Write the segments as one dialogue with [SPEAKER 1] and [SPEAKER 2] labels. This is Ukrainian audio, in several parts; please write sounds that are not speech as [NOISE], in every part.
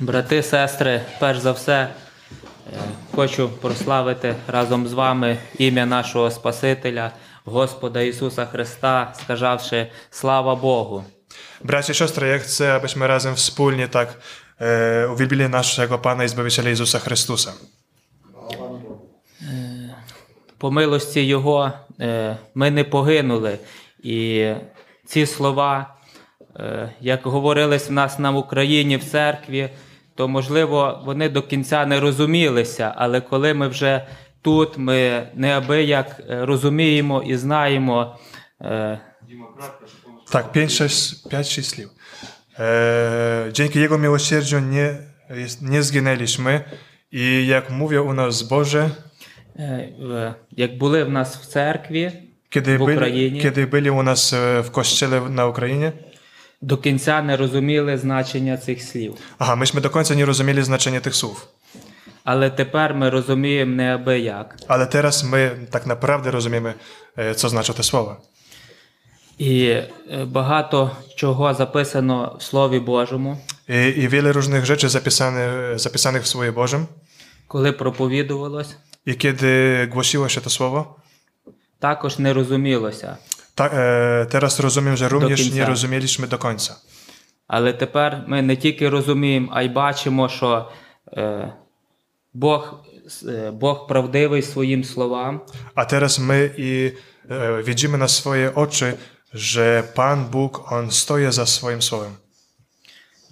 [SPEAKER 1] брати, сестри, перш за все, е, хочу прославити разом з вами ім'я нашого Спасителя, Господа Ісуса Христа, сказавши Слава Богу.
[SPEAKER 2] Bracie i siostry, ja chcę, abyśmy razem wspólnie tak e, uwielbili naszego Pana i Zbawiciela Jezusa Chrystusa.
[SPEAKER 1] По милості Його е, ми не погинули. І ці слова, е, як говорились в нас на Україні в церкві, то можливо вони до кінця не розумілися, але коли ми вже тут, ми неабияк е, розуміємо і знаємо. е,
[SPEAKER 2] Tak, 5-6 sliw. E, dzięki Jego miłosierdziu nie, jest, nie zginęliśmy i jak mówią u nas Boże,
[SPEAKER 1] е, е, Як були в нас в церкві,
[SPEAKER 2] kiedy
[SPEAKER 1] W
[SPEAKER 2] byli,
[SPEAKER 1] Ukrainie.
[SPEAKER 2] kiedy byli u nas e, w kościele na Ukrainie,
[SPEAKER 1] до кінця не розуміли значення цих слів.
[SPEAKER 2] aha, myśmy do końca nie rozumieli znaczenia tych słów,
[SPEAKER 1] Але тепер ми розуміємо неабияк.
[SPEAKER 2] ale teraz my tak naprawdę rozumiemy, e, co znaczą te słowa.
[SPEAKER 1] І е, багато чого записано в Слові Божому,
[SPEAKER 2] I, i wiele różnych rzeczy zapisane, zapisanych w Słowie Bożym.
[SPEAKER 1] коли проповідувалось,
[SPEAKER 2] I kiedy głosiło się to słowo,
[SPEAKER 1] також не розумілося.
[SPEAKER 2] ta, e, teraz rozumiem, że również
[SPEAKER 1] końca.
[SPEAKER 2] nie rozumieliśmy do końca.
[SPEAKER 1] Але тепер ми не тільки розуміємо, а й бачимо, що е, Бог, е, Бог правдивий своїм словам,
[SPEAKER 2] A teraz my i e, widzimy na swoje oczy, że Pan Bóg, On stoi za swoim słowem.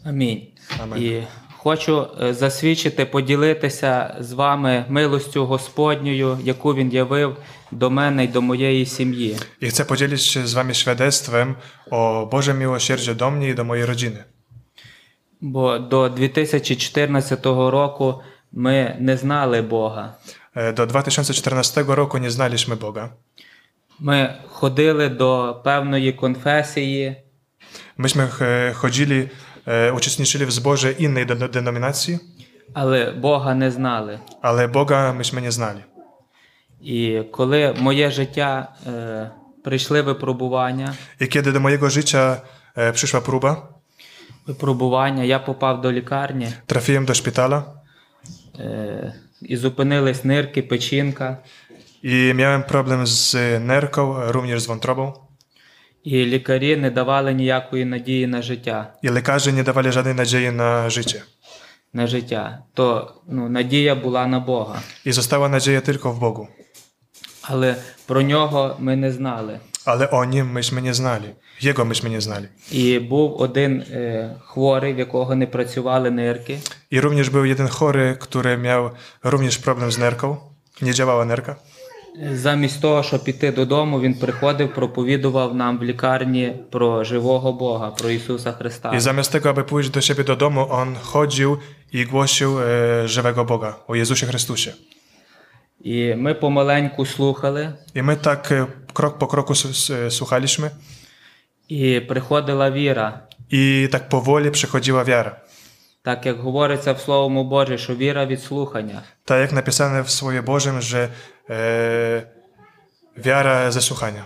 [SPEAKER 1] Амінь.
[SPEAKER 2] Амен.
[SPEAKER 1] І хочу е, засвідчити, поділитися з вами милостю Господньою, яку Він явив до мене і до моєї сім'ї.
[SPEAKER 2] I chcę podzielić się z wami świadectwem o Boże miłosierdzie do mnie i do mojej rodziny.
[SPEAKER 1] Бо до 2014 року ми не знали Бога.
[SPEAKER 2] E, Do 2014 roku nie znaliśmy Boga.
[SPEAKER 1] Ми ходили до певної конфесії,
[SPEAKER 2] Myśmy e, chodzili, e, uczestniczyli w zborze innej de- denominacji,
[SPEAKER 1] але Бога не знали.
[SPEAKER 2] ale Boga myśmy nie znali.
[SPEAKER 1] І коли моє життя е, прийшли випробування,
[SPEAKER 2] I kiedy do mojego życia e, przyszła próba,
[SPEAKER 1] випробування, я попав до лікарні
[SPEAKER 2] Trafiłem do szpitala
[SPEAKER 1] е, і зупинились нирки, печінка.
[SPEAKER 2] i miałem problem z nerką, również z wątrobą.
[SPEAKER 1] І лікарі не давали ніякої надії на життя.
[SPEAKER 2] I lekarze nie dawali żadnej nadziei na życie.
[SPEAKER 1] На життя. То ну, надія була на Бога.
[SPEAKER 2] I została nadzieja tylko w Bogu.
[SPEAKER 1] Але про нього ми не знали.
[SPEAKER 2] Ale o nim myśmy nie znali. Jego myśmy nie znali.
[SPEAKER 1] І був один е, хворий, в якого не pracювали нирки.
[SPEAKER 2] I również był jeden chory, który miał również problem z nerką. Nie działała nerka.
[SPEAKER 1] Замість того, щоб піти додому, він приходив, проповідував нам в лікарні про живого Бога, про Ісуса Христа.
[SPEAKER 2] I zamiast tego, aby pójść do siebie do domu, on chodził i głosił e, żywego Boga, o Jezusie Chrystusie.
[SPEAKER 1] І ми помаленьку slухали,
[SPEAKER 2] I my tak e, krok po kroku s- s- słuchaliśmy
[SPEAKER 1] і приходила віра.
[SPEAKER 2] i tak powoli przychodziła wiara.
[SPEAKER 1] Так як говориться в Словому Боже, що віра від слухання.
[SPEAKER 2] Tak jak napisane w Słowie Bożym, że e, wiara ze słuchania.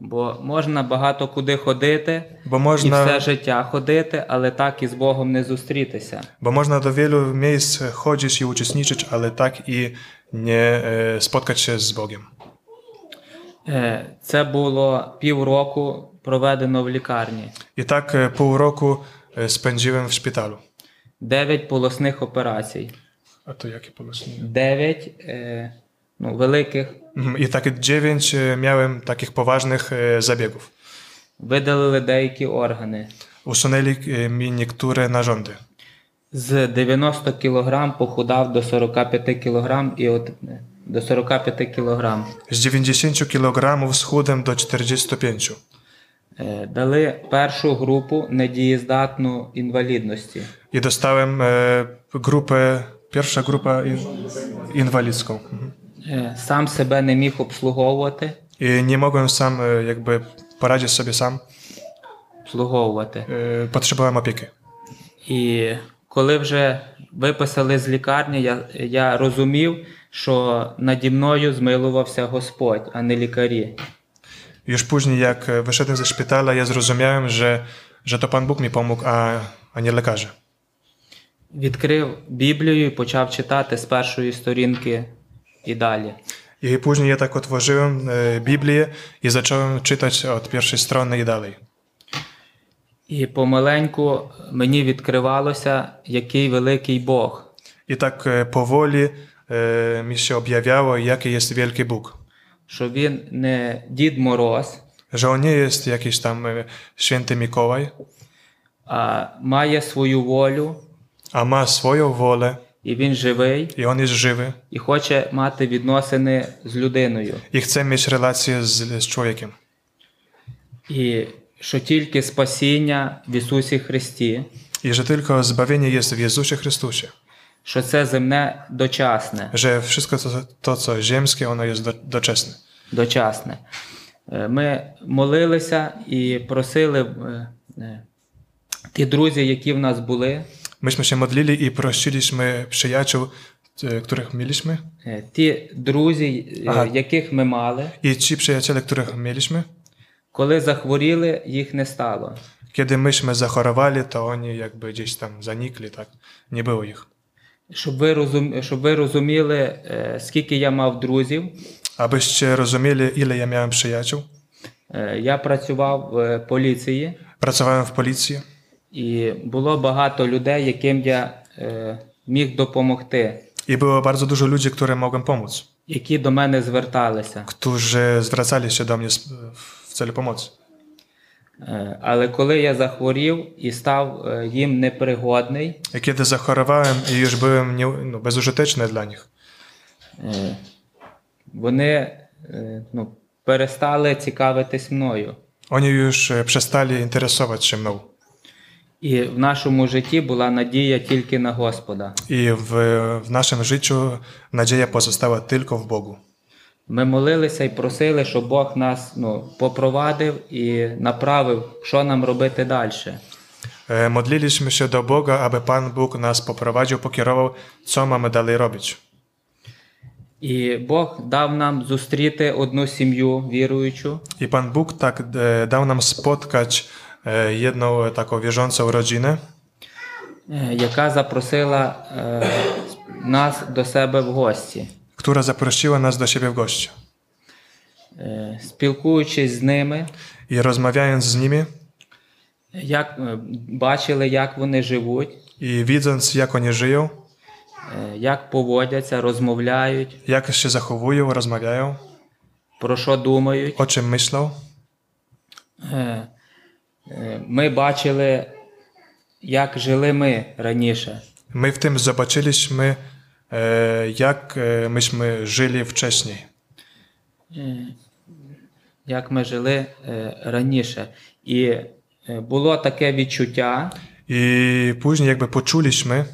[SPEAKER 1] Бо можна багато куди ходити
[SPEAKER 2] Bo
[SPEAKER 1] і
[SPEAKER 2] można,
[SPEAKER 1] все життя ходити, але так і з Богом не зустрітися.
[SPEAKER 2] bo można do wielu miejsc chodzić i uczestniczyć, ale tak i nie e, spotkać się z Bogiem.
[SPEAKER 1] Е, Це було півроку проведено в лікарні.
[SPEAKER 2] I tak e, pół roku e, spędziłem w szpitalu.
[SPEAKER 1] Дев'ять полосних операцій.
[SPEAKER 2] A to jakie polecenie?
[SPEAKER 1] Дев'ять е, ну, великих
[SPEAKER 2] Mhm, I tak dziewięć e, miałem takich poważnych e, zabiegów.
[SPEAKER 1] видалили деякі органи.
[SPEAKER 2] Usunęli e, mi niektóre narządy.
[SPEAKER 1] З 90 кг похудав до 45 кг і от е, до 45 кг.
[SPEAKER 2] Z 90 kg schudłem do 45.
[SPEAKER 1] Е, Дали першу групу недієздатну інвалідності.
[SPEAKER 2] I dostałem e, grupę, pierwsza grupa in, inwalidzką. Mhm.
[SPEAKER 1] Е, Сам себе не міг обслуговувати.
[SPEAKER 2] I nie mogłem sam e, jakby poradzić sobie sam.
[SPEAKER 1] обслуговувати.
[SPEAKER 2] E, potrzebowałem opieki.
[SPEAKER 1] І коли вже виписали з лікарні, я, я розумів, що наді мною змилувався Господь, а не лікарі.
[SPEAKER 2] Już później jak e, wyszedłem ze szpitala, ja zrozumiałem, że, że to Pan Bóg mi pomógł, a, a nie lekarze.
[SPEAKER 1] відкрив Біблію і почав читати з першої сторінки і далі.
[SPEAKER 2] І później tak я так отважив е, Біблію і почав читати від першої сторони і далі.
[SPEAKER 1] І помаленьку мені відкривалося, який великий Бог.
[SPEAKER 2] І так е, поволі е, мені ще об'являло, який є великий Бог.
[SPEAKER 1] що він не Дід Мороз,
[SPEAKER 2] Że on nie jest jakiś tam e, święty Mikołaj,
[SPEAKER 1] а має свою волю,
[SPEAKER 2] a ma swoją wolę
[SPEAKER 1] і він живий,
[SPEAKER 2] i on jest żywy
[SPEAKER 1] і хоче мати відносини з людиною.
[SPEAKER 2] i chce mieć relację z, z człowiekiem.
[SPEAKER 1] І що тільки спасіння в Ісусі Христі,
[SPEAKER 2] I że tylko zbawienie jest w Jezusie Chrystusie.
[SPEAKER 1] що це земне дочасне.
[SPEAKER 2] Że wszystko to, to co ziemskie, ono jest do, doczesne.
[SPEAKER 1] дочасне. Е, Ми молилися і просили е, е, ті друзі, які в нас були,
[SPEAKER 2] Myśmy się modlili i prosiliśmy przyjaciół, e, których mieliśmy.
[SPEAKER 1] е, ті друзі, е,
[SPEAKER 2] Ага.
[SPEAKER 1] яких ми мали,
[SPEAKER 2] I ci przyjaciele, których mieliśmy,
[SPEAKER 1] коли захворіли, їх не стало.
[SPEAKER 2] kiedy myśmy zachorowali, to oni jakby gdzieś tam zanikli, tak? Nie było ich.
[SPEAKER 1] Щоб ви, розум... Щоб ви розуміли, е, скільки я мав друзів,
[SPEAKER 2] Abyście rozumieli, ile ja miałem przyjaciół.
[SPEAKER 1] е, я працював в поліції,
[SPEAKER 2] Pracowałem w policji
[SPEAKER 1] і було багато людей, яким я е, mіг допомогти,
[SPEAKER 2] i było bardzo dużo ludzi, którym mogłem pomóc,
[SPEAKER 1] які до мене зверталися.
[SPEAKER 2] którzy zwracali się do mnie z- w celu pomocy.
[SPEAKER 1] Е, Але коли я захворів і став е, їм непригодний,
[SPEAKER 2] I kiedy zachorowałem i już byłem nie, no, bezużyteczny dla nich,
[SPEAKER 1] е, вони е, ну, перестали цікавитись мною.
[SPEAKER 2] oni już e, przestali interesować się mną.
[SPEAKER 1] І в нашому житті була надія tільки на Господа.
[SPEAKER 2] I w, w naszym życiu nadzieja pozostała tylko w Bogu.
[SPEAKER 1] Ми молилися і просили, щоб Бог нас ну, попровадив і направив, що нам робити далі.
[SPEAKER 2] E, Modliliśmy się do Boga, aby Pan Bóg nas poprowadził, pokierował, co mamy dalej robić.
[SPEAKER 1] І Бог дав нам зустріти одну сім'ю віруючу,
[SPEAKER 2] I Pan Bóg tak e, dał nam spotkać e, jedną taką wierzącą rodzinę,
[SPEAKER 1] е, яка запросила е, нас до себе в гості.
[SPEAKER 2] która zaprosiła nas do siebie w gości.
[SPEAKER 1] Е, Спілкуючись з ними,
[SPEAKER 2] I rozmawiając z nimi
[SPEAKER 1] як, е, бачили, як вони живуть,
[SPEAKER 2] i widząc, jak oni żyją,
[SPEAKER 1] е, як поводяться, розмовляють,
[SPEAKER 2] jak się zachowują, rozmawiają,
[SPEAKER 1] про що думають.
[SPEAKER 2] o czym myślą,
[SPEAKER 1] Е, е, Ми бачили, як жили ми раніше.
[SPEAKER 2] my w tym zobaczyliśmy, e, jak e, myśmy żyli wcześniej,
[SPEAKER 1] як ми жили е, раніше. І е, було таке відчуття,
[SPEAKER 2] I później jakby poczuliśmy,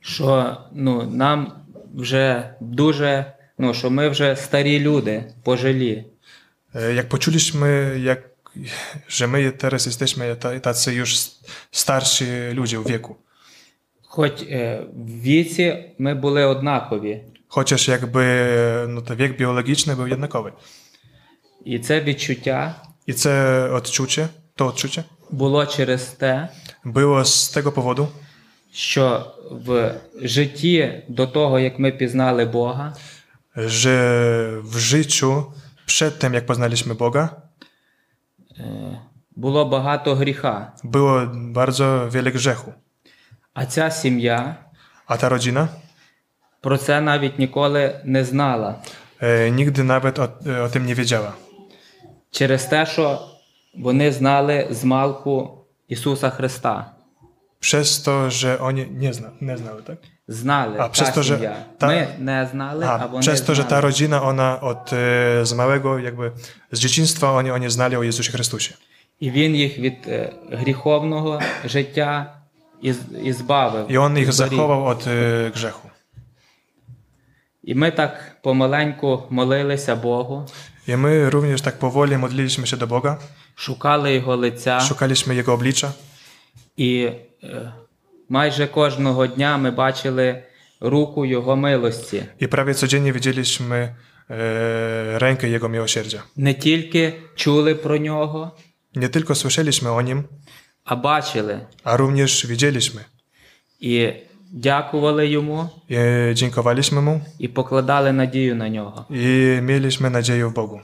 [SPEAKER 1] що ну, нам вже дуже, ну, що ми вже старі люди, пожилі.
[SPEAKER 2] e, jak poczuliśmy, jak, że my teraz jesteśmy ta- tacy już starsi ludzie w wieku.
[SPEAKER 1] Хоч е, в віці ми були однакові.
[SPEAKER 2] Chociaż jakby e, no, ten wiek biologiczny był jednakowy.
[SPEAKER 1] І це відчуття
[SPEAKER 2] I co odczucie, to odczucie
[SPEAKER 1] було через те,
[SPEAKER 2] było z tego powodu,
[SPEAKER 1] що в житті до того, як ми пізнали Бога,
[SPEAKER 2] że w życiu przed tym, jak poznaliśmy Boga,
[SPEAKER 1] було багато гріха.
[SPEAKER 2] było bardzo wiele grzechu.
[SPEAKER 1] А ця сім'я
[SPEAKER 2] A ta rodzina
[SPEAKER 1] про це навіть nіколи не знала.
[SPEAKER 2] e, nigdy nawet o, e, o tym nie wiedziała.
[SPEAKER 1] через те, що вони знали змалку Ісуса Христа.
[SPEAKER 2] Przez to, że oni nie, zna, nie znały, tak?
[SPEAKER 1] Знали
[SPEAKER 2] А,
[SPEAKER 1] та
[SPEAKER 2] przez to, że
[SPEAKER 1] сім'я.
[SPEAKER 2] ta-
[SPEAKER 1] Ми не знали, а,
[SPEAKER 2] A,
[SPEAKER 1] вони
[SPEAKER 2] przez to,
[SPEAKER 1] знали.
[SPEAKER 2] że ta rodzina, ona od e, z małego, jakby z dzieciństwa, oni, oni znali o Jezusie Chrystusie.
[SPEAKER 1] І Він їх від е, гріховного життя із, ізбавив.
[SPEAKER 2] I on ich
[SPEAKER 1] зберіг.
[SPEAKER 2] zachował od e, grzechu.
[SPEAKER 1] І ми так помаленьку молилися Богу,
[SPEAKER 2] I my również tak powoli modliliśmy się do Boga,
[SPEAKER 1] шукали Його лиця,
[SPEAKER 2] szukaliśmy Jego oblicza
[SPEAKER 1] і е, майже кожного дня ми бачили руку Його милості.
[SPEAKER 2] i prawie codziennie widzieliśmy e, rękę Jego miłosierdzia.
[SPEAKER 1] Не тільки чули про нього,
[SPEAKER 2] Nie tylko słyszeliśmy o Nim,
[SPEAKER 1] а бачили.
[SPEAKER 2] a również widzieliśmy.
[SPEAKER 1] І дякували йому
[SPEAKER 2] i dziękowaliśmy Mu
[SPEAKER 1] і покладали надію на нього.
[SPEAKER 2] i mieliśmy nadzieję w Bogu.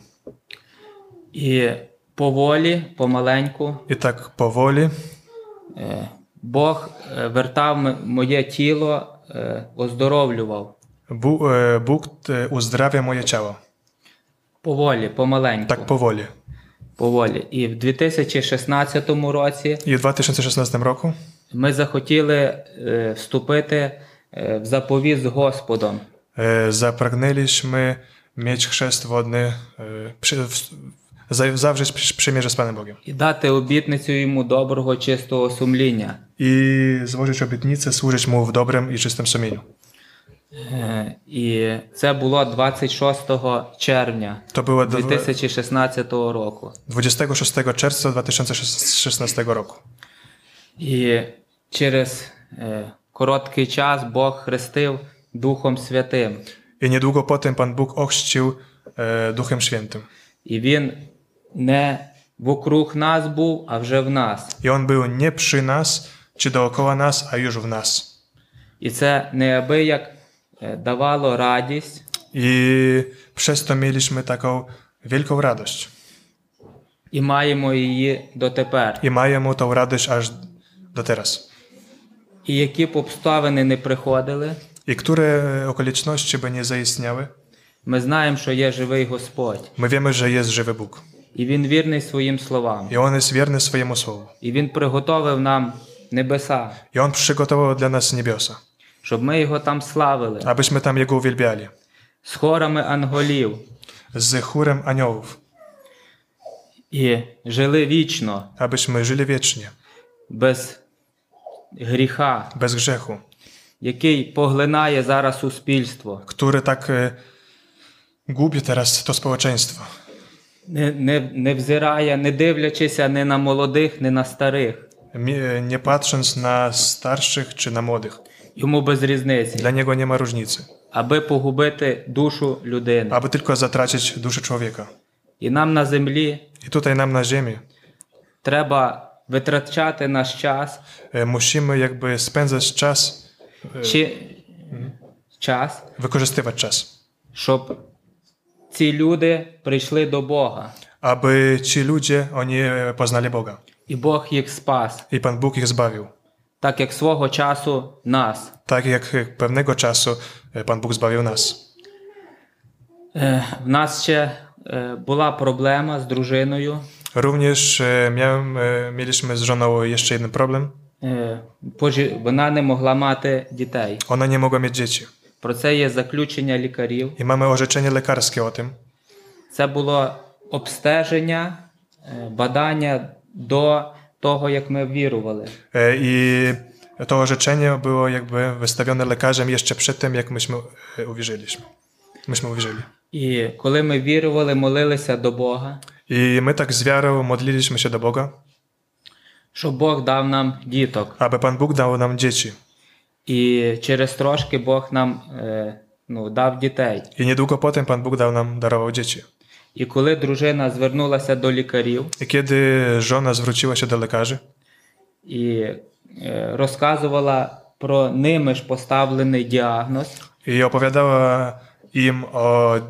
[SPEAKER 1] І поволі, помаленьку,
[SPEAKER 2] I tak powoli
[SPEAKER 1] е, Бог е, вертав м- моє тіло, е, оздоровлював.
[SPEAKER 2] Bu- e, Bóg e, uzdrawia moje ciało.
[SPEAKER 1] Поволі, помаленьку.
[SPEAKER 2] Tak powoli.
[SPEAKER 1] Поволі. І в 2016 році
[SPEAKER 2] I w 2016 roku
[SPEAKER 1] ми захотіли е, вступити е, в заповіт з Господом.
[SPEAKER 2] e, zapragnęliśmy mieć chrzest wodny, e, przy, w, za- zawrzeć przy- przymierze z Panem Bogiem
[SPEAKER 1] і дати обітницю йому доброго чистого сумління.
[SPEAKER 2] i złożyć obietnicę, służyć Mu w dobrym i czystym sumieniu.
[SPEAKER 1] Е, І це було 26 червня
[SPEAKER 2] To było dwa-
[SPEAKER 1] 2016 roку.
[SPEAKER 2] 26 czerwca 2016 roku.
[SPEAKER 1] І через е, короткий час Бог хрестив Духом Святим.
[SPEAKER 2] I niedługo potem Pan Bóg ochrzcił e, Duchem Świętym.
[SPEAKER 1] І він не вокруг нас був, а вже в нас.
[SPEAKER 2] I On był nie przy nas, czy dookoła nas, a już w nas.
[SPEAKER 1] І це неабияк е, давало радість
[SPEAKER 2] I przez to mieliśmy taką wielką radość.
[SPEAKER 1] і маємо її дотепер.
[SPEAKER 2] I mają tą radość aż do teraz.
[SPEAKER 1] І які б обставини не приходили,
[SPEAKER 2] I które okoliczności by nie zaistniały,
[SPEAKER 1] ми знаємо, що є живий Господь.
[SPEAKER 2] my wiemy, że jest żywy Bóg.
[SPEAKER 1] І він вірний своїм словам.
[SPEAKER 2] I On jest wierny swojemu słowu.
[SPEAKER 1] І він приготовив нам небеса,
[SPEAKER 2] I On przygotował dla nas niebiosa,
[SPEAKER 1] щоб ми його там славили
[SPEAKER 2] abyśmy tam Jego uwielbiali.
[SPEAKER 1] з хорами анголів
[SPEAKER 2] Z chórem aniołów,
[SPEAKER 1] і жили вічно,
[SPEAKER 2] abyśmy żyli wiecznie,
[SPEAKER 1] без гріха,
[SPEAKER 2] bez grzechu,
[SPEAKER 1] який поглинає зараз суспільство.
[SPEAKER 2] który tak e, gubi teraz to społeczeństwo.
[SPEAKER 1] Не, не, не взирає, не дивлячися ні на молодих, ні на старих.
[SPEAKER 2] Mi- e, Nie patrząc na starszych czy na młodych.
[SPEAKER 1] Йому без різниці,
[SPEAKER 2] Dla Niego nie ma różnicy.
[SPEAKER 1] аби погубити душу людини.
[SPEAKER 2] aby tylko zatracić duszę człowieka.
[SPEAKER 1] І нам на землі
[SPEAKER 2] I tutaj nam na ziemi
[SPEAKER 1] треба витрачати наш час,
[SPEAKER 2] e, musimy jakby spędzać czas,
[SPEAKER 1] чи час,
[SPEAKER 2] wykorzystywać czas,
[SPEAKER 1] щоб ці люди прийшли до Бога,
[SPEAKER 2] aby ci ludzie, oni e, poznali Boga
[SPEAKER 1] і Бог їх спас,
[SPEAKER 2] i Pan Bóg ich zbawił.
[SPEAKER 1] так як свого часу нас.
[SPEAKER 2] Tak jak e, pewnego czasu e, Pan Bóg zbawił nas.
[SPEAKER 1] Е, в нас ще е, була проблема з дружиною.
[SPEAKER 2] Również e, miałem, e, mieliśmy z żoną jeszcze jeden problem.
[SPEAKER 1] Е, пожі- вона не могла мати дітей.
[SPEAKER 2] Ona nie mogła mieć dzieci.
[SPEAKER 1] Про це є заключення лікарів.
[SPEAKER 2] I mamy orzeczenie lekarskie o tym.
[SPEAKER 1] Це було обстеження, е, бадання до того, як ми вірували.
[SPEAKER 2] E, I to orzeczenie było jakby wystawione lekarzem jeszcze przed tym, jak myśmy e, uwierzyliśmy. Myśmy uwierzyli.
[SPEAKER 1] І коли ми вірували, молилися до Бога,
[SPEAKER 2] I my tak z wiarą modliliśmy się do Boga,
[SPEAKER 1] щоб Бог дав нам діток.
[SPEAKER 2] aby Pan Bóg dał nam dzieci.
[SPEAKER 1] І через трошки Бог нам е, ну, дав дітей.
[SPEAKER 2] I niedługo potem Pan Bóg dał nam, darował dzieci.
[SPEAKER 1] І коли дружина звернулася до лікарів
[SPEAKER 2] I kiedy żona zwróciła się do lekarzy
[SPEAKER 1] і е, розказувала про ними ж поставлений діагноз,
[SPEAKER 2] i opowiadała im o, e,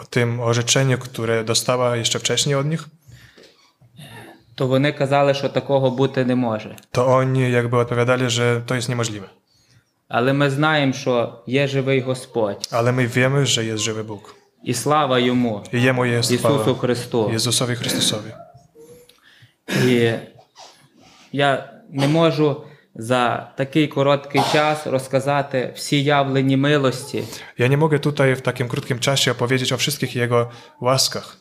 [SPEAKER 2] o tym orzeczeniu, które dostała jeszcze wcześniej od nich,
[SPEAKER 1] то вони казали, що takого бути не може.
[SPEAKER 2] to oni jakby odpowiadali, że to jest niemożliwe.
[SPEAKER 1] Але ми знаємо, що є живий Господь,
[SPEAKER 2] Ale my wiemy, że jest żywy Bóg.
[SPEAKER 1] і слава йому,
[SPEAKER 2] I Jemu jest chwała.
[SPEAKER 1] Ісусу Христу.
[SPEAKER 2] Jezusowi Chrystusowi.
[SPEAKER 1] І я не можу за такий короткий час розказати всі явлені милості.
[SPEAKER 2] Ja nie mogę tutaj w takim krótkim czasie opowiedzieć o wszystkich Jego łaskach,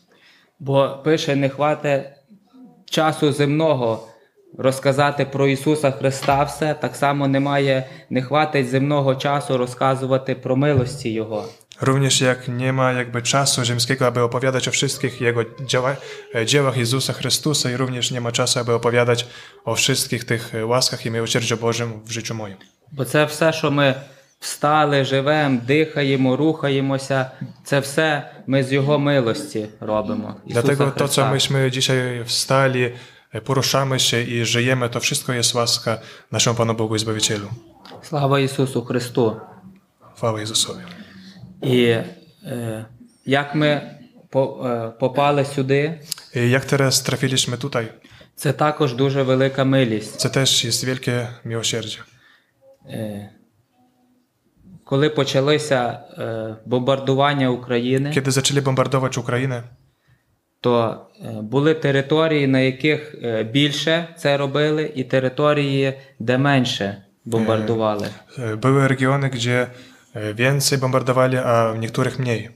[SPEAKER 1] Бо пише, не хвате часу земного розказати про Ісуса Христа все, так само немає, не хватить земного часу розказувати про милості Його.
[SPEAKER 2] Również jak nie ma jakby czasu ziemskiego, aby opowiadać o wszystkich jego działa, e, dziełach Jezusa Chrystusa i również nie ma czasu, aby opowiadać o wszystkich tych e, łaskach i miłosierdziu Bożym w życiu moim.
[SPEAKER 1] Бо це все, що ми встали, живемо, дихаємо, рухаємося, це все ми з Його милості робимо.
[SPEAKER 2] Dlatego
[SPEAKER 1] Ісуса
[SPEAKER 2] to, co
[SPEAKER 1] Христа.
[SPEAKER 2] myśmy dzisiaj wstali, e, poruszamy się i żyjemy, to wszystko jest łaska naszemu Panu Bogu i Zbawicielu.
[SPEAKER 1] Слава Ісусу Христу!
[SPEAKER 2] Хвала Ісусові.
[SPEAKER 1] І е, як ми по, е, попали сюди,
[SPEAKER 2] І як зараз трапилися tutaj,
[SPEAKER 1] це також дуже велика милість.
[SPEAKER 2] це теж є велике милосердя.
[SPEAKER 1] Е, коли почалися е, бомбардування України,
[SPEAKER 2] Kiedy zaczęli bombardować Ukrainę,
[SPEAKER 1] то е, були території, на яких е, більше це робили, і території, де менше бомбардували.
[SPEAKER 2] e, były regiony, gdzie e, więcej bombardowali, a w niektórych mniej.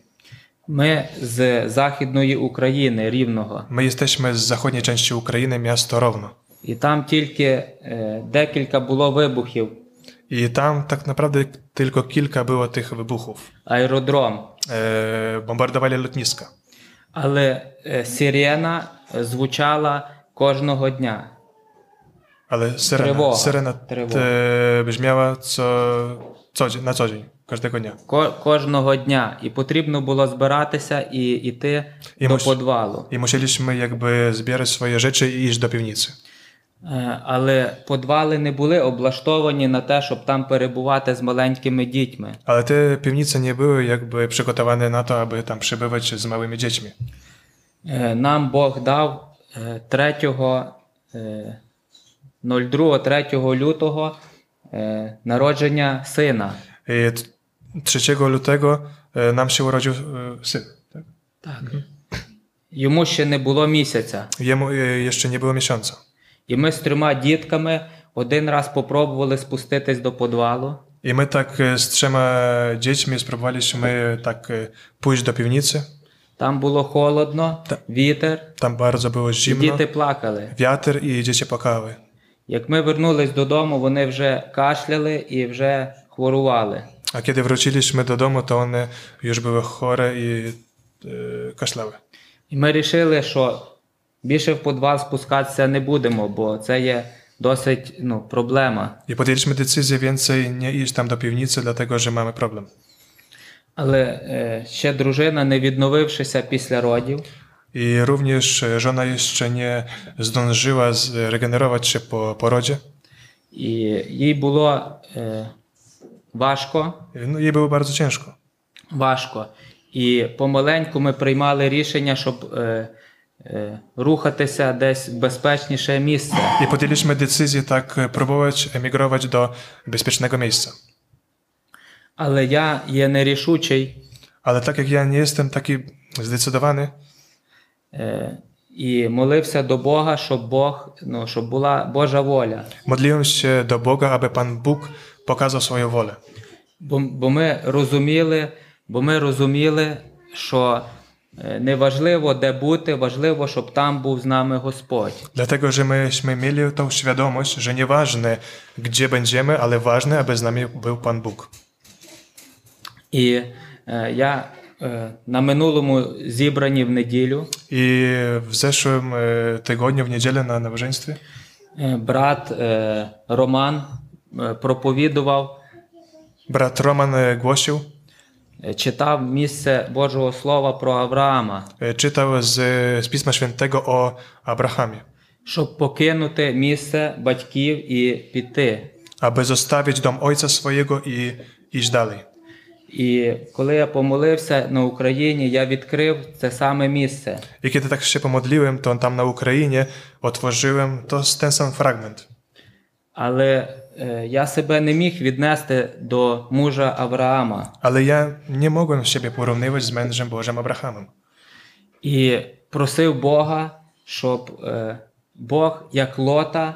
[SPEAKER 1] Ми з Західної України, Рівного,
[SPEAKER 2] My jesteśmy z zachodniej części Ukrainy, miasto Równo.
[SPEAKER 1] і там тільки е, декілька було вибухів.
[SPEAKER 2] I tam tak naprawdę tylko kilka było tych wybuchów.
[SPEAKER 1] Аеродром.
[SPEAKER 2] E, bombardowali lotniska.
[SPEAKER 1] Але е, сирена е, звучала кожного дня.
[SPEAKER 2] Ale syrena,
[SPEAKER 1] Trywoga.
[SPEAKER 2] syrena
[SPEAKER 1] Trywoga.
[SPEAKER 2] e, brzmiała co, co, na co dzień, każdego dnia.
[SPEAKER 1] Ко- кожного дня. І потрібно було збиратися і йти
[SPEAKER 2] І
[SPEAKER 1] до
[SPEAKER 2] мус-
[SPEAKER 1] подвалу.
[SPEAKER 2] I musieliśmy jakby zbierać swoje rzeczy i iść do piwnicy.
[SPEAKER 1] Е, Але подвали не були облаштовані на те, щоб там перебувати з маленькими дітьми.
[SPEAKER 2] Ale te piwnice nie były jakby przygotowane na to, aby tam przebywać z małymi dziećmi.
[SPEAKER 1] Е, Нам Бог дав е, 02-3 лютого е, народження сина.
[SPEAKER 2] I t- 3 lutego e, nam się urodził e, syn. tak?
[SPEAKER 1] Йому ще не було місяця.
[SPEAKER 2] Jemu e, jeszcze nie było miesiąca.
[SPEAKER 1] І ми з трьома дітками один раз попробували спуститись до подвалу,
[SPEAKER 2] I my tak e, z trzema dziećmi spróbowaliśmy tak e, pójść do piwnicy.
[SPEAKER 1] Там було холодно, вітер,
[SPEAKER 2] Tam bardzo było
[SPEAKER 1] і
[SPEAKER 2] zimno,
[SPEAKER 1] діти плакали.
[SPEAKER 2] wiatr i dzieci płakały.
[SPEAKER 1] Як ми вернулись додому, вони вже кашляли і вже хворували.
[SPEAKER 2] A kiedy wróciliśmy do domu, to one już były chore i e, kaszlały.
[SPEAKER 1] І ми вирішили, що більше в подвал спускатися не будемо, бо це є досить ну, проблема.
[SPEAKER 2] I podjęliśmy decyzję więcej nie iść tam do piwnicy, dlatego że mamy problem.
[SPEAKER 1] Але е, ще дружина, не відновившися pісля родів,
[SPEAKER 2] I również e, żona jeszcze nie zdążyła zregenerować się po porodzie.
[SPEAKER 1] і їй було е, важко.
[SPEAKER 2] No, jej było bardzo ciężko.
[SPEAKER 1] важко. І помаленьку ми приймали рішення, щоб е, е, рухатися десь в безпечніше місце.
[SPEAKER 2] I podjęliśmy decyzję tak e, próbować emigrować do bezpiecznego miejsca.
[SPEAKER 1] Але я є нерішучий,
[SPEAKER 2] Ale tak jak ja nie jestem taki zdecydowany,
[SPEAKER 1] е, і молився до Бога, щоб Бог, ну, щоб була Божа воля.
[SPEAKER 2] modliłem się do Boga, aby Pan Bóg pokazał swoją wolę.
[SPEAKER 1] Бо, бо ми розуміли, бо ми розуміли, що е, не важливо, де бути, важливо, щоб там був з нами Господь.
[SPEAKER 2] Dlatego, że myśmy mieli tą świadomość, że nieważne gdzie będziemy, ale ważne, aby z nami był Pan Bóg.
[SPEAKER 1] І е, я е, на минулому зібранні в неділю.
[SPEAKER 2] I w zeszłym e, tygodniu, w niedzielę na nabożeństwie,
[SPEAKER 1] Е, Брат е, Роман е, проповідував,
[SPEAKER 2] brat Roman e, głosił,
[SPEAKER 1] е, читав місце Божого Слова про Авраама,
[SPEAKER 2] e, czytał z, z Pisma Świętego o Abrahamie,
[SPEAKER 1] щоб покинути місце батьків і піти.
[SPEAKER 2] aby zostawić dom ojca swojego i iść dalej.
[SPEAKER 1] І коли я помолився на Україні, я відкрив це саме місце.
[SPEAKER 2] I kiedy tak się pomodliłem, to tam na Ukrainie otworzyłem to ten sam fragment.
[SPEAKER 1] Але е, я себе не міг віднести до мужа Авраама.
[SPEAKER 2] Ale ja nie mogłem siebie porównywać z mężem Bożym Abrahamem.
[SPEAKER 1] І просив Бога, щоб е, Бог, як лота,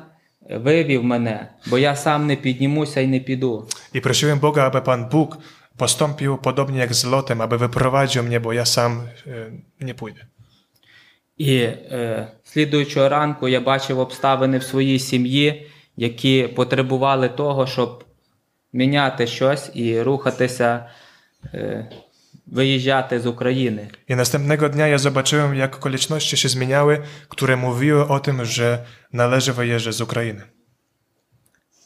[SPEAKER 1] е, вивів мене, бо я сам не піднімуся і не піду.
[SPEAKER 2] I prosiłem Boga, aby Pan Bóg postąpił podobnie jak z Lotem, aby wyprowadził mnie, bo ja sam e, nie pójdę.
[SPEAKER 1] І е, слідуючого ранку я бачив обставини в своїй сім'ї, які потребували того, щоб міняти щось і рухатися, е, виїжджати з України.
[SPEAKER 2] I następnego dnia ja zobaczyłem, jak okoliczności się zmieniały, które mówiły o tym, że należy wyjeżdżać z Ukrainy.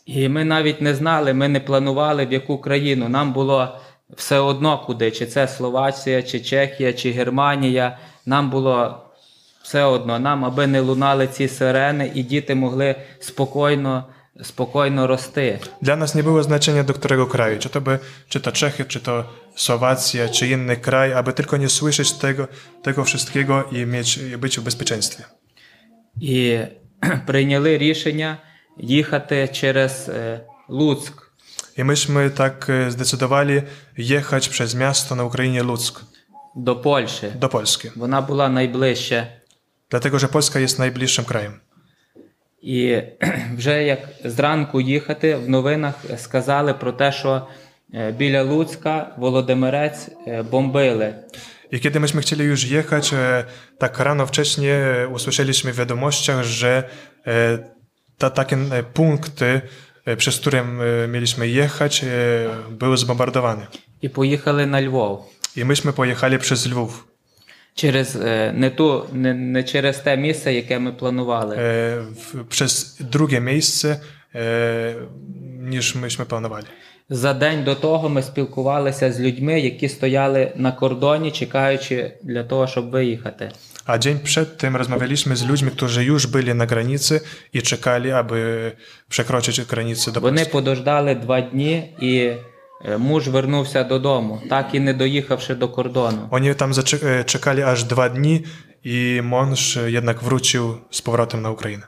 [SPEAKER 1] І ми навіть не знали, ми не планували в яку країну. Нам було все одно куди, чи це Словація, чи Чехія, чи Германія. Нам було все одно, нам аби не лунали ці сирени, і діти могли спокійно spokojno rosty.
[SPEAKER 2] Dla nas nie było znaczenia, do którego kraju, czy to, by, czy to Czechy, czy to Słowacja, czy inny kraj, aby tylko nie słyszeć tego, tego wszystkiego i, mieć, i być w bezpieczeństwie.
[SPEAKER 1] І [CLEARS THROAT] прийняли рішення їхати через е, Луцьк.
[SPEAKER 2] I myśmy tak e, zdecydowali jechać przez miasto na Ukrainie Ludzk
[SPEAKER 1] до Польщі.
[SPEAKER 2] do Polski,
[SPEAKER 1] Вона була найближче.
[SPEAKER 2] dlatego że Polska jest najbliższym krajem.
[SPEAKER 1] І [CLEARS THROAT] вже як зранку їхати, в новинах сказали про те, що е, біля Луцька Володимирець е, бомбили.
[SPEAKER 2] I kiedy myśmy chcieli już jechać, e, tak rano wcześnie e, usłyszeliśmy w wiadomościach, że e, ta, takie e, punkty, e, przez które e, mieliśmy jechać, e, były zbombardowane.
[SPEAKER 1] І поїхали на Львов.
[SPEAKER 2] I myśmy pojechali przez Lwów,
[SPEAKER 1] Через е, не ту, не, не через те місце, яке ми
[SPEAKER 2] e,
[SPEAKER 1] планували.
[SPEAKER 2] w, przez drugie miejsce e, niż myśmy planowali.
[SPEAKER 1] За день до того ми спілкувалися з людьми, які stoяли на кордоні, чекаючи для того, щоб виїхати.
[SPEAKER 2] A dzień przed tym rozmawialiśmy z ludźmi, którzy już byli na granicy i czekali, aby przekroczyć granicę do
[SPEAKER 1] Вони
[SPEAKER 2] Polski.
[SPEAKER 1] подождали два дні, і е, муж вернувся додому, так і не доїхавши до кордону.
[SPEAKER 2] Oni tam zaczek- e, czekali aż dwa dni i mąż e, jednak wrócił z powrotem na Ukrainę.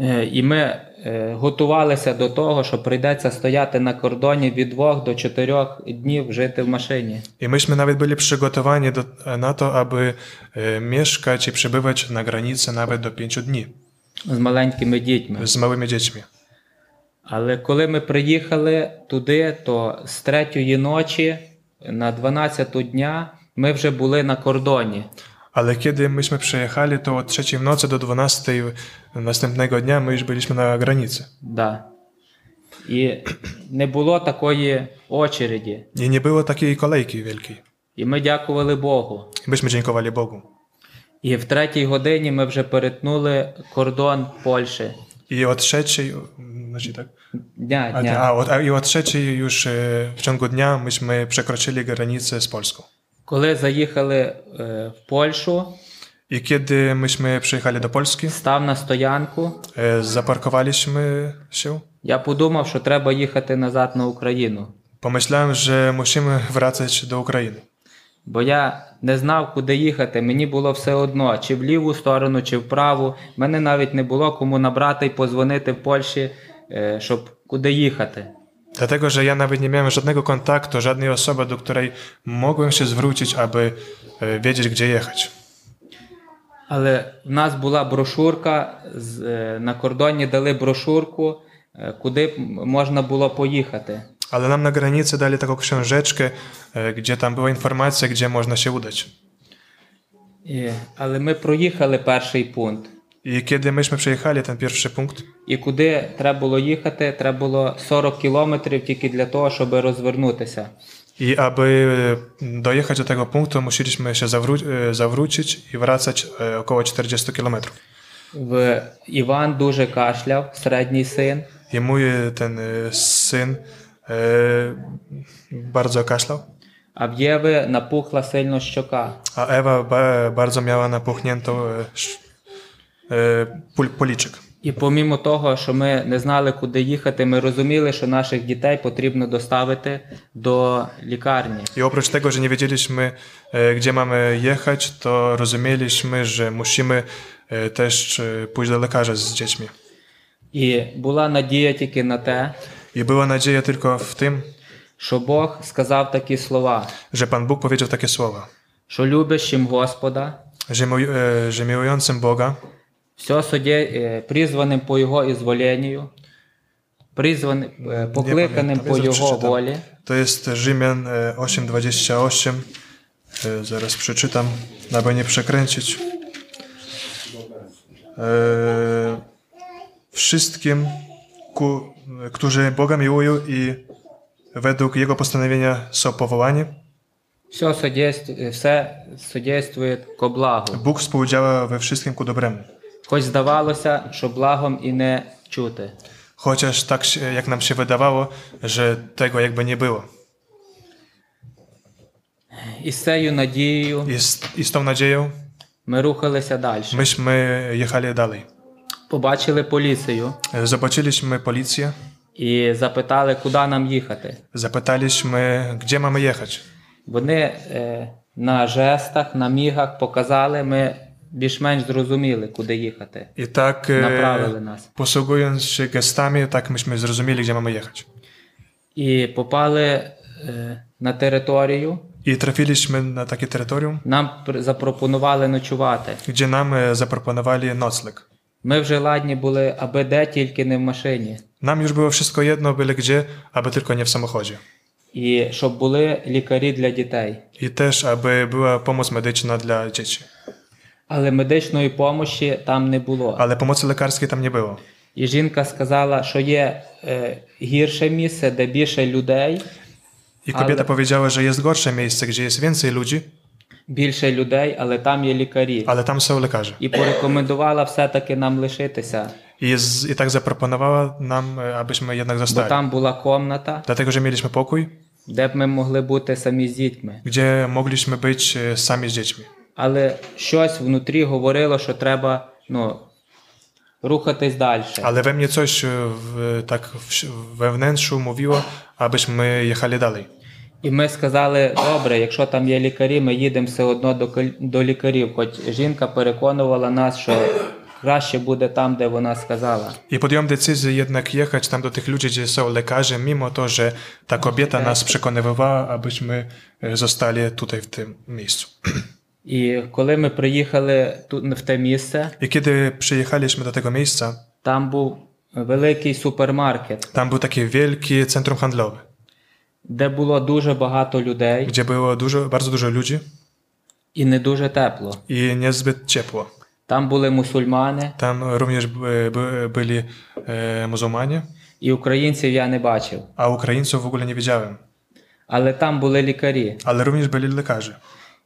[SPEAKER 1] Е, І ми е, готувалися до того, що прийдеться стояти на кордоні від двох до чотирьох днів жити в машині.
[SPEAKER 2] I myśmy nawet byli przygotowani do, na to, aby e, mieszkać i przebywać na granicy nawet do pięciu dni
[SPEAKER 1] З маленькими дітьми.
[SPEAKER 2] z małymi dziećmi.
[SPEAKER 1] Але коли ми приїхали туди, то з третьої ночі на 12 дня ми вже були на кордоні.
[SPEAKER 2] Ale kiedy myśmy przyjechali, to od trzeciej w nocy do 12 następnego dnia my już byliśmy na granicy.
[SPEAKER 1] Да. І не було такої очереді.
[SPEAKER 2] I nie było takiej kolejki wielkiej.
[SPEAKER 1] І ми дякували Богу.
[SPEAKER 2] I myśmy dziękowali Bogu.
[SPEAKER 1] І в третій годині ми вже перетнули кордон Польщі.
[SPEAKER 2] I o trzeciej, znaczy tak,
[SPEAKER 1] Дня,
[SPEAKER 2] a,
[SPEAKER 1] дня.
[SPEAKER 2] a, o- a, i o trzeciej już e, w ciągu dnia myśmy przekroczyli granicę z Polską.
[SPEAKER 1] Коли заїхали е, в Польщу,
[SPEAKER 2] I kiedy myśmy przyjechali do Polski,
[SPEAKER 1] став на стоянку.
[SPEAKER 2] e, zaparkowaliśmy się.
[SPEAKER 1] Я подумав, що треба їхати назад на Україну.
[SPEAKER 2] Pomyślałem, że musimy wracać do Ukrainy,
[SPEAKER 1] Бо я не знав, куди їхати. Mені було все одно, чи в ліву сторону, чи в праву. Мене навіть не було кому набрати і позвонити в Польщі, е, щоб куди їхати.
[SPEAKER 2] dlatego że ja nawet nie miałem żadnego kontaktu, żadnej osoby, do której mogłem się zwrócić, aby e, wiedzieć, gdzie jechać.
[SPEAKER 1] Але в нас була брошурка, з, е, на кордоні дали брошурку, е, куди б можна було поїхати.
[SPEAKER 2] Ale nam na granicy dali taką książeczkę, e, gdzie tam była informacja, gdzie można się udać.
[SPEAKER 1] І, але ми проїхали перший пункт.
[SPEAKER 2] I kiedy myśmy przejechali ten pierwszy punkt,
[SPEAKER 1] І куди треба було їхати, треба було 40 кілометрів тільки для того, щоб розвернутися.
[SPEAKER 2] I aby e, dojechać do tego punktu, musieliśmy się zawró- e, zawrócić i wracać e, około 40 km.
[SPEAKER 1] В... Іван дуже кашляв, середній син.
[SPEAKER 2] I mój e, ten e, syn e, bardzo kaszlał,
[SPEAKER 1] А в Єви напухла сильно щока.
[SPEAKER 2] a Ewa ba- bardzo miała napuchniętą e, sz- e, pul- policzek.
[SPEAKER 1] І помімо того, що ми не знали, куди їхати, ми розуміли, що наших дітей потрібно доставити до лікарні.
[SPEAKER 2] I oprócz tego, że nie wiedzieliśmy, e, gdzie mamy jechać, to rozumieliśmy, że musimy e, też e, pójść do lekarza z dziećmi.
[SPEAKER 1] І була надія тільки на те,
[SPEAKER 2] I była nadzieja tylko w tym,
[SPEAKER 1] що Бог сказав такі слова,
[SPEAKER 2] że Pan Bóg powiedział takie słowa.
[SPEAKER 1] що любящим Господа,
[SPEAKER 2] że, mił, e, że miłującym Boga,
[SPEAKER 1] все судє, е, призваним по Його ізволенню, призваним, е, покликаним
[SPEAKER 2] пам'ятаю,
[SPEAKER 1] по
[SPEAKER 2] я
[SPEAKER 1] Його
[SPEAKER 2] зачитав.
[SPEAKER 1] волі,
[SPEAKER 2] to jest Rzymian e, 8:28. E, Zaraz przeczytam, aby nie przekręcić. E, Wszystkim, ku, którzy Boga miłują i według Jego postanowienia są powołani,
[SPEAKER 1] все судєствує, е, все судєствує ко благу.
[SPEAKER 2] Bóg współdziała we wszystkim ku dobremu.
[SPEAKER 1] Хоч здавалося, що благом і не чути.
[SPEAKER 2] Chociaż tak się- jak nam się wydawało, że tego jakby nie było.
[SPEAKER 1] І з цією надією
[SPEAKER 2] I z, i z tą nadzieją
[SPEAKER 1] ми рухалися далі.
[SPEAKER 2] myśmy jechali dalej.
[SPEAKER 1] побачили поліцію
[SPEAKER 2] E, Zobaczyliśmy policję,
[SPEAKER 1] і запитали, куди нам їхати.
[SPEAKER 2] zapytaliśmy, gdzie mamy jechać.
[SPEAKER 1] Вони е, на жестах, на мігах показали, ми більш-менш зрозуміли, куди їхати.
[SPEAKER 2] I tak, e,
[SPEAKER 1] Направили нас.
[SPEAKER 2] posługując się gestami, tak myśmy zrozumieli, gdzie mamy jechać.
[SPEAKER 1] І попали е, на територію.
[SPEAKER 2] I trafiliśmy na takie terytorium,
[SPEAKER 1] Нам пр- запропонували ночувати.
[SPEAKER 2] gdzie nam e, zaproponowali nocleg.
[SPEAKER 1] Ми вже ладні були, аби де tільки не в машині.
[SPEAKER 2] Nam już było wszystko jedno, byle gdzie, aby tylko nie w samochodzie.
[SPEAKER 1] І щоб були лікарі для дітей.
[SPEAKER 2] I też, aby była pomoc medyczna dla dzieci.
[SPEAKER 1] Але медичної допомоги там не було.
[SPEAKER 2] Ale pomocy lekarskiej tam nie było.
[SPEAKER 1] І жінка сказала, що є е, гірше місце, де більше людей,
[SPEAKER 2] I kobieta
[SPEAKER 1] Ale-
[SPEAKER 2] powiedziała, że jest gorsze miejsce, gdzie jest więcej ludzi,
[SPEAKER 1] більше людей, але там є лікарі.
[SPEAKER 2] ale tam są lekarze.
[SPEAKER 1] І порекомендувала все-таки нам лишитися,
[SPEAKER 2] I, jest, I tak zaproponowała nam, e, abyśmy jednak
[SPEAKER 1] бо
[SPEAKER 2] zostali.
[SPEAKER 1] там була комната,
[SPEAKER 2] Dlatego, że mieliśmy pokój,
[SPEAKER 1] де б ми могли бути самі з дітьми.
[SPEAKER 2] gdzie mogliśmy być e, sami z dziećmi.
[SPEAKER 1] Але щось внутрі говорило, що треба ну, рухатись далі.
[SPEAKER 2] Ale we mnie coś e, w, tak w, we wnętrzu mówiło, abyśmy jechali dalej.
[SPEAKER 1] І ми сказали: добре, якщо там є лікарі, ми їдемо все одно до, кол- до лікарів. Хоч жінка переконувала нас, що краще буде там, де вона сказала.
[SPEAKER 2] I podjąłem decyzję jednak jechać tam do tych ludzi, gdzie są lekarze, mimo to, że ta kobieta nas przekonywała, abyśmy e, zostali tutaj w tym miejscu.
[SPEAKER 1] І коли ми приїхали тут в те місце,
[SPEAKER 2] I kiedy przyjechaliśmy do tego miejsca,
[SPEAKER 1] там був великий супермаркет,
[SPEAKER 2] tam był takie wielkie centrum handlowe,
[SPEAKER 1] де було дуже багато людей
[SPEAKER 2] gdzie było dużo, bardzo dużo ludzi
[SPEAKER 1] і не дуже тепло.
[SPEAKER 2] i niezbyt ciepło.
[SPEAKER 1] Tam були мусульмани,
[SPEAKER 2] Tam również by, by, byli e, muzułmanie,
[SPEAKER 1] і українців я не бачив.
[SPEAKER 2] a Ukraińców w ogóle nie wiedziałem.
[SPEAKER 1] Але там були лікарі.
[SPEAKER 2] Ale również byli lekarze.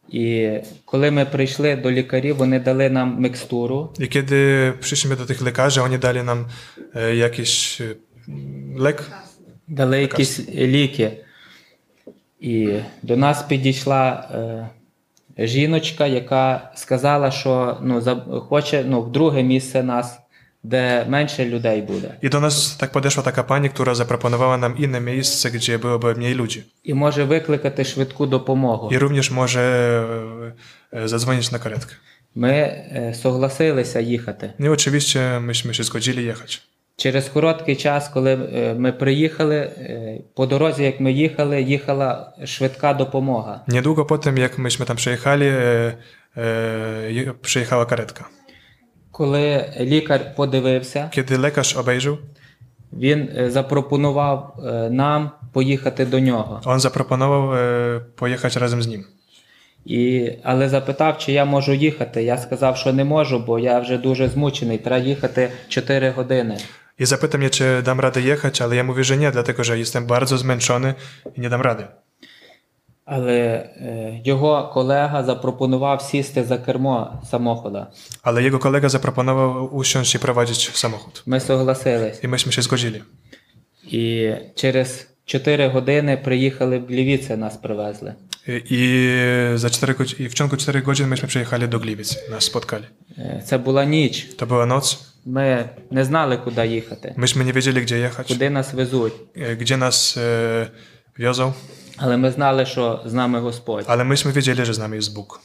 [SPEAKER 1] І коли ми прийшли до лікарів, вони дали нам мікстуру.
[SPEAKER 2] I kiedy przyszliśmy do tych lekarzy, oni dali nam e, jakiś e, lek,
[SPEAKER 1] дали якісь ліки. І до нас підійшла е, жіночка, яка сказала, що ну, за, хоче ну, в друге місце нас, де менше людей буде.
[SPEAKER 2] I do nas tak podeszła taka pani, która zaproponowała nam inne miejsce, gdzie byłoby mniej ludzi.
[SPEAKER 1] І може викликати швидку допомогу.
[SPEAKER 2] I również może e, e, zadzwonić na karetkę.
[SPEAKER 1] Ми е, согласилися їхати.
[SPEAKER 2] No i oczywiście myśmy się zgodzili jechać.
[SPEAKER 1] Через короткий час, коли е, ми приїхали, е, по дорозі, як ми їхали, їхала швидка допомога.
[SPEAKER 2] Niedługo potem, jak myśmy tam przejechali, e, e, je- przyjechała karetka.
[SPEAKER 1] Коли лікар подивився,
[SPEAKER 2] Kiedy lekarz obejrzał,
[SPEAKER 1] Він е, запропонував е, нам poїхати до нього.
[SPEAKER 2] on zaproponował e, pojechać razem z nim.
[SPEAKER 1] І, але запитав, чи я можу їхати. Я сказав, що не можу, бо я вже дуже змучений. Треба їхати 4 години.
[SPEAKER 2] I zapytał mnie, czy dam radę jechać, ale ja mówię, że nie, dlatego że jestem bardzo zmęczony i nie dam rady.
[SPEAKER 1] Але е, його колега запропонував сісти за кермо самохода.
[SPEAKER 2] Ale jego kolega zaproponował usiąść i prowadzić samochód.
[SPEAKER 1] Ми согласились.
[SPEAKER 2] I myśmy się zgodzili.
[SPEAKER 1] І через 4 години приїхали в Лівіце, нас привезли.
[SPEAKER 2] I, za 4 godzi- I w ciągu 4 godzin myśmy przyjechali do Gliwic, nas spotkali.
[SPEAKER 1] Е, Це була ніч.
[SPEAKER 2] To była noc,
[SPEAKER 1] Ми не знали, куди їхати,
[SPEAKER 2] myśmy nie wiedzieli gdzie jechać,
[SPEAKER 1] куди нас везуть.
[SPEAKER 2] e, gdzie nas e, wiozą,
[SPEAKER 1] Але ми знали, що з нами Господь.
[SPEAKER 2] ale myśmy wiedzieli, że z nami jest Bóg.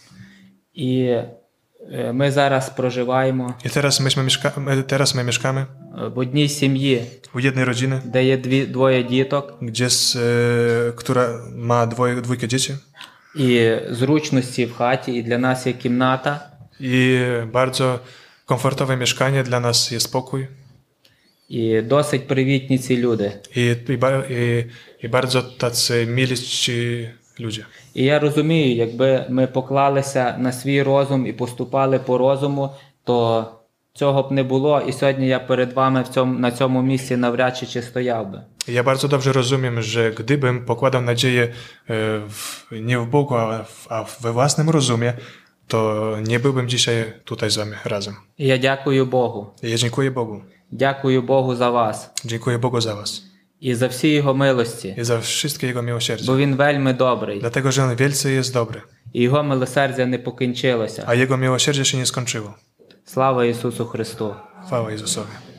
[SPEAKER 1] І е, ми зараз проживаємо
[SPEAKER 2] I teraz, myśmy mieszka- my, teraz my mieszkamy
[SPEAKER 1] е, в одній сім'ї,
[SPEAKER 2] u jednej rodziny,
[SPEAKER 1] де є дві, двоє діток,
[SPEAKER 2] gdzie z, e, która ma dwoje, dwójkę dzieci
[SPEAKER 1] і зручності в хаті, і для нас є кімната,
[SPEAKER 2] i bardzo komfortowe mieszkanie, dla nas jest pokój
[SPEAKER 1] і dosить привітні ці люди.
[SPEAKER 2] i, i, ba- i, i bardzo tacy mili ci ludzie.
[SPEAKER 1] І я розумію, якби ми поклалися на свій розум і поступали по розуму, то цього б не було. І сьогодні я перед вами в цьому, на цьому місці навряд чи, чи стояв би.
[SPEAKER 2] Ja bardzo dobrze rozumiem, że gdybym pokładał nadzieję e, w, nie w Bogu, a, w, a we własnym rozumie, to nie byłbym dzisiaj tutaj z wami razem.
[SPEAKER 1] І я дякую Богу.
[SPEAKER 2] Ja dziękuję Bogu.
[SPEAKER 1] Дякую Богу за вас
[SPEAKER 2] Dziękuję Bogu za was
[SPEAKER 1] і за всі його милості,
[SPEAKER 2] i za wszystkie Jego miłosierdzie.
[SPEAKER 1] бо він wельми добрий.
[SPEAKER 2] Dlatego, że On wielce jest dobry,
[SPEAKER 1] і його милосердя не покінчилося.
[SPEAKER 2] a Jego miłosierdzie się nie skończyło.
[SPEAKER 1] Слава Ісусу Христу!
[SPEAKER 2] Chwała Jezusowi.